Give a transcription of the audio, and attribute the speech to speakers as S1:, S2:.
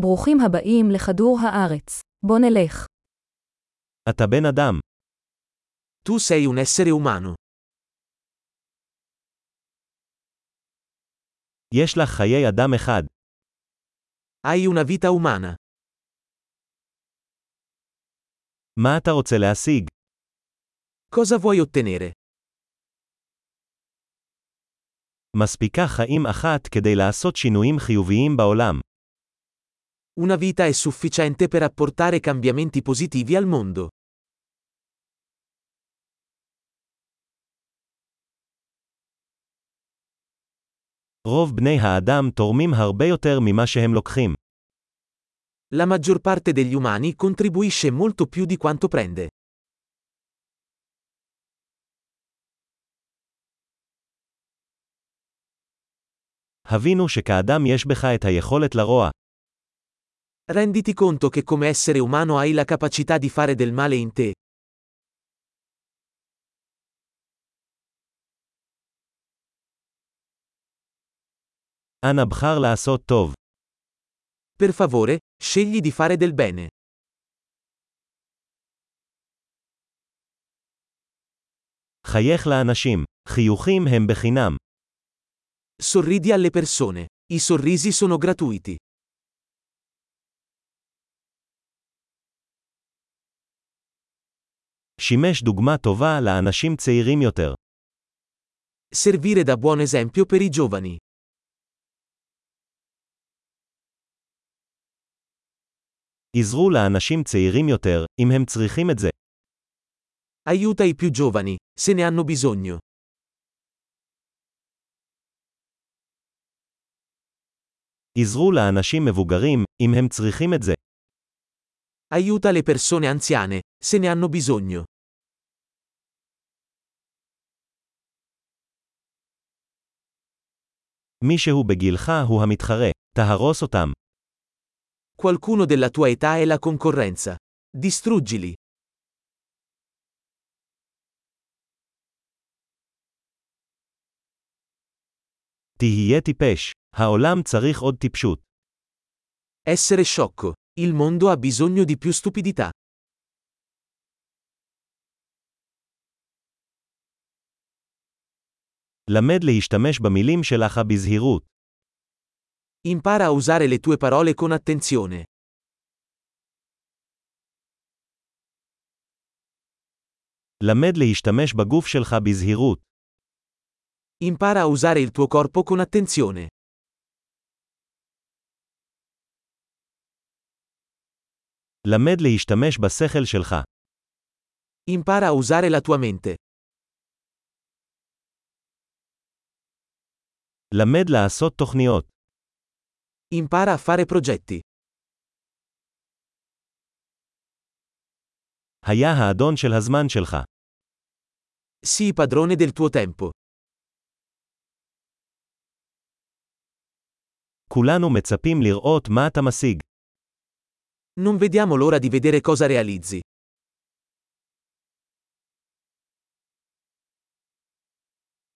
S1: ברוכים הבאים לכדור הארץ. בוא נלך.
S2: אתה בן אדם.
S3: Tu sei un essere umano.
S2: יש לך חיי אדם אחד.
S3: Hai una vita umana.
S2: מה אתה רוצה להשיג?
S3: Cosa vuoi ottenere?
S2: מספיקה חיים אחת כדי לעשות שינויים חיוביים בעולם.
S3: Una vita è sufficiente per apportare cambiamenti positivi al mondo.
S2: רוב בני האדם תורמים הרבה יותר ממה שהם לוקחים.
S3: La maggior parte degli umani contribuisce molto più di quanto prende.
S2: הבינו שכאדם יש בך את היכולת לרוע.
S3: Renditi conto che come essere umano hai la capacità di fare del male in te.
S2: אנא בחר לעשות טוב.
S3: Per favore, scegli di fare del bene.
S2: חייך לאנשים. חיוכים הם בחינם.
S3: Sorridi alle persone. I sorrisi sono gratuiti.
S2: שימש דוגמה טובה לאנשים צעירים יותר.
S3: Servire da buon esempio per i giovani.
S2: עזרו לאנשים צעירים יותר, אם הם צריכים את זה.
S3: Aiuta i più giovani, se ne hanno bisogno.
S2: עזרו לאנשים מבוגרים, אם הם צריכים את זה.
S3: Aiuta le persone anziane, se ne hanno bisogno.
S2: מישהו בגילך הוא המתחרה, תהרוס אותם.
S3: Qualcuno della tua età è la concorrenza. Distruggili.
S2: תהיה טיפש. העולם צריך עוד טיפשות.
S3: Essere sciocco. Il mondo ha bisogno di più stupidità.
S2: למד להשתמש במילים שלך בזהירות.
S3: Impara a usare le tue parole con attenzione.
S2: למד להשתמש בגוף שלך בזהירות.
S3: Impara a usare il tuo corpo con attenzione.
S2: למד להשתמש בשכל שלך.
S3: Impara a usare la tua mente.
S2: למד לעשות תוכניות.
S3: Impara a fare progetti.
S2: היה האדון של הזמן שלך.
S3: Sii padrone del tuo tempo.
S2: כולנו מצפים לראות מה אתה משיג.
S3: Non vediamo l'ora di vedere cosa realizzi.